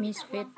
Misfit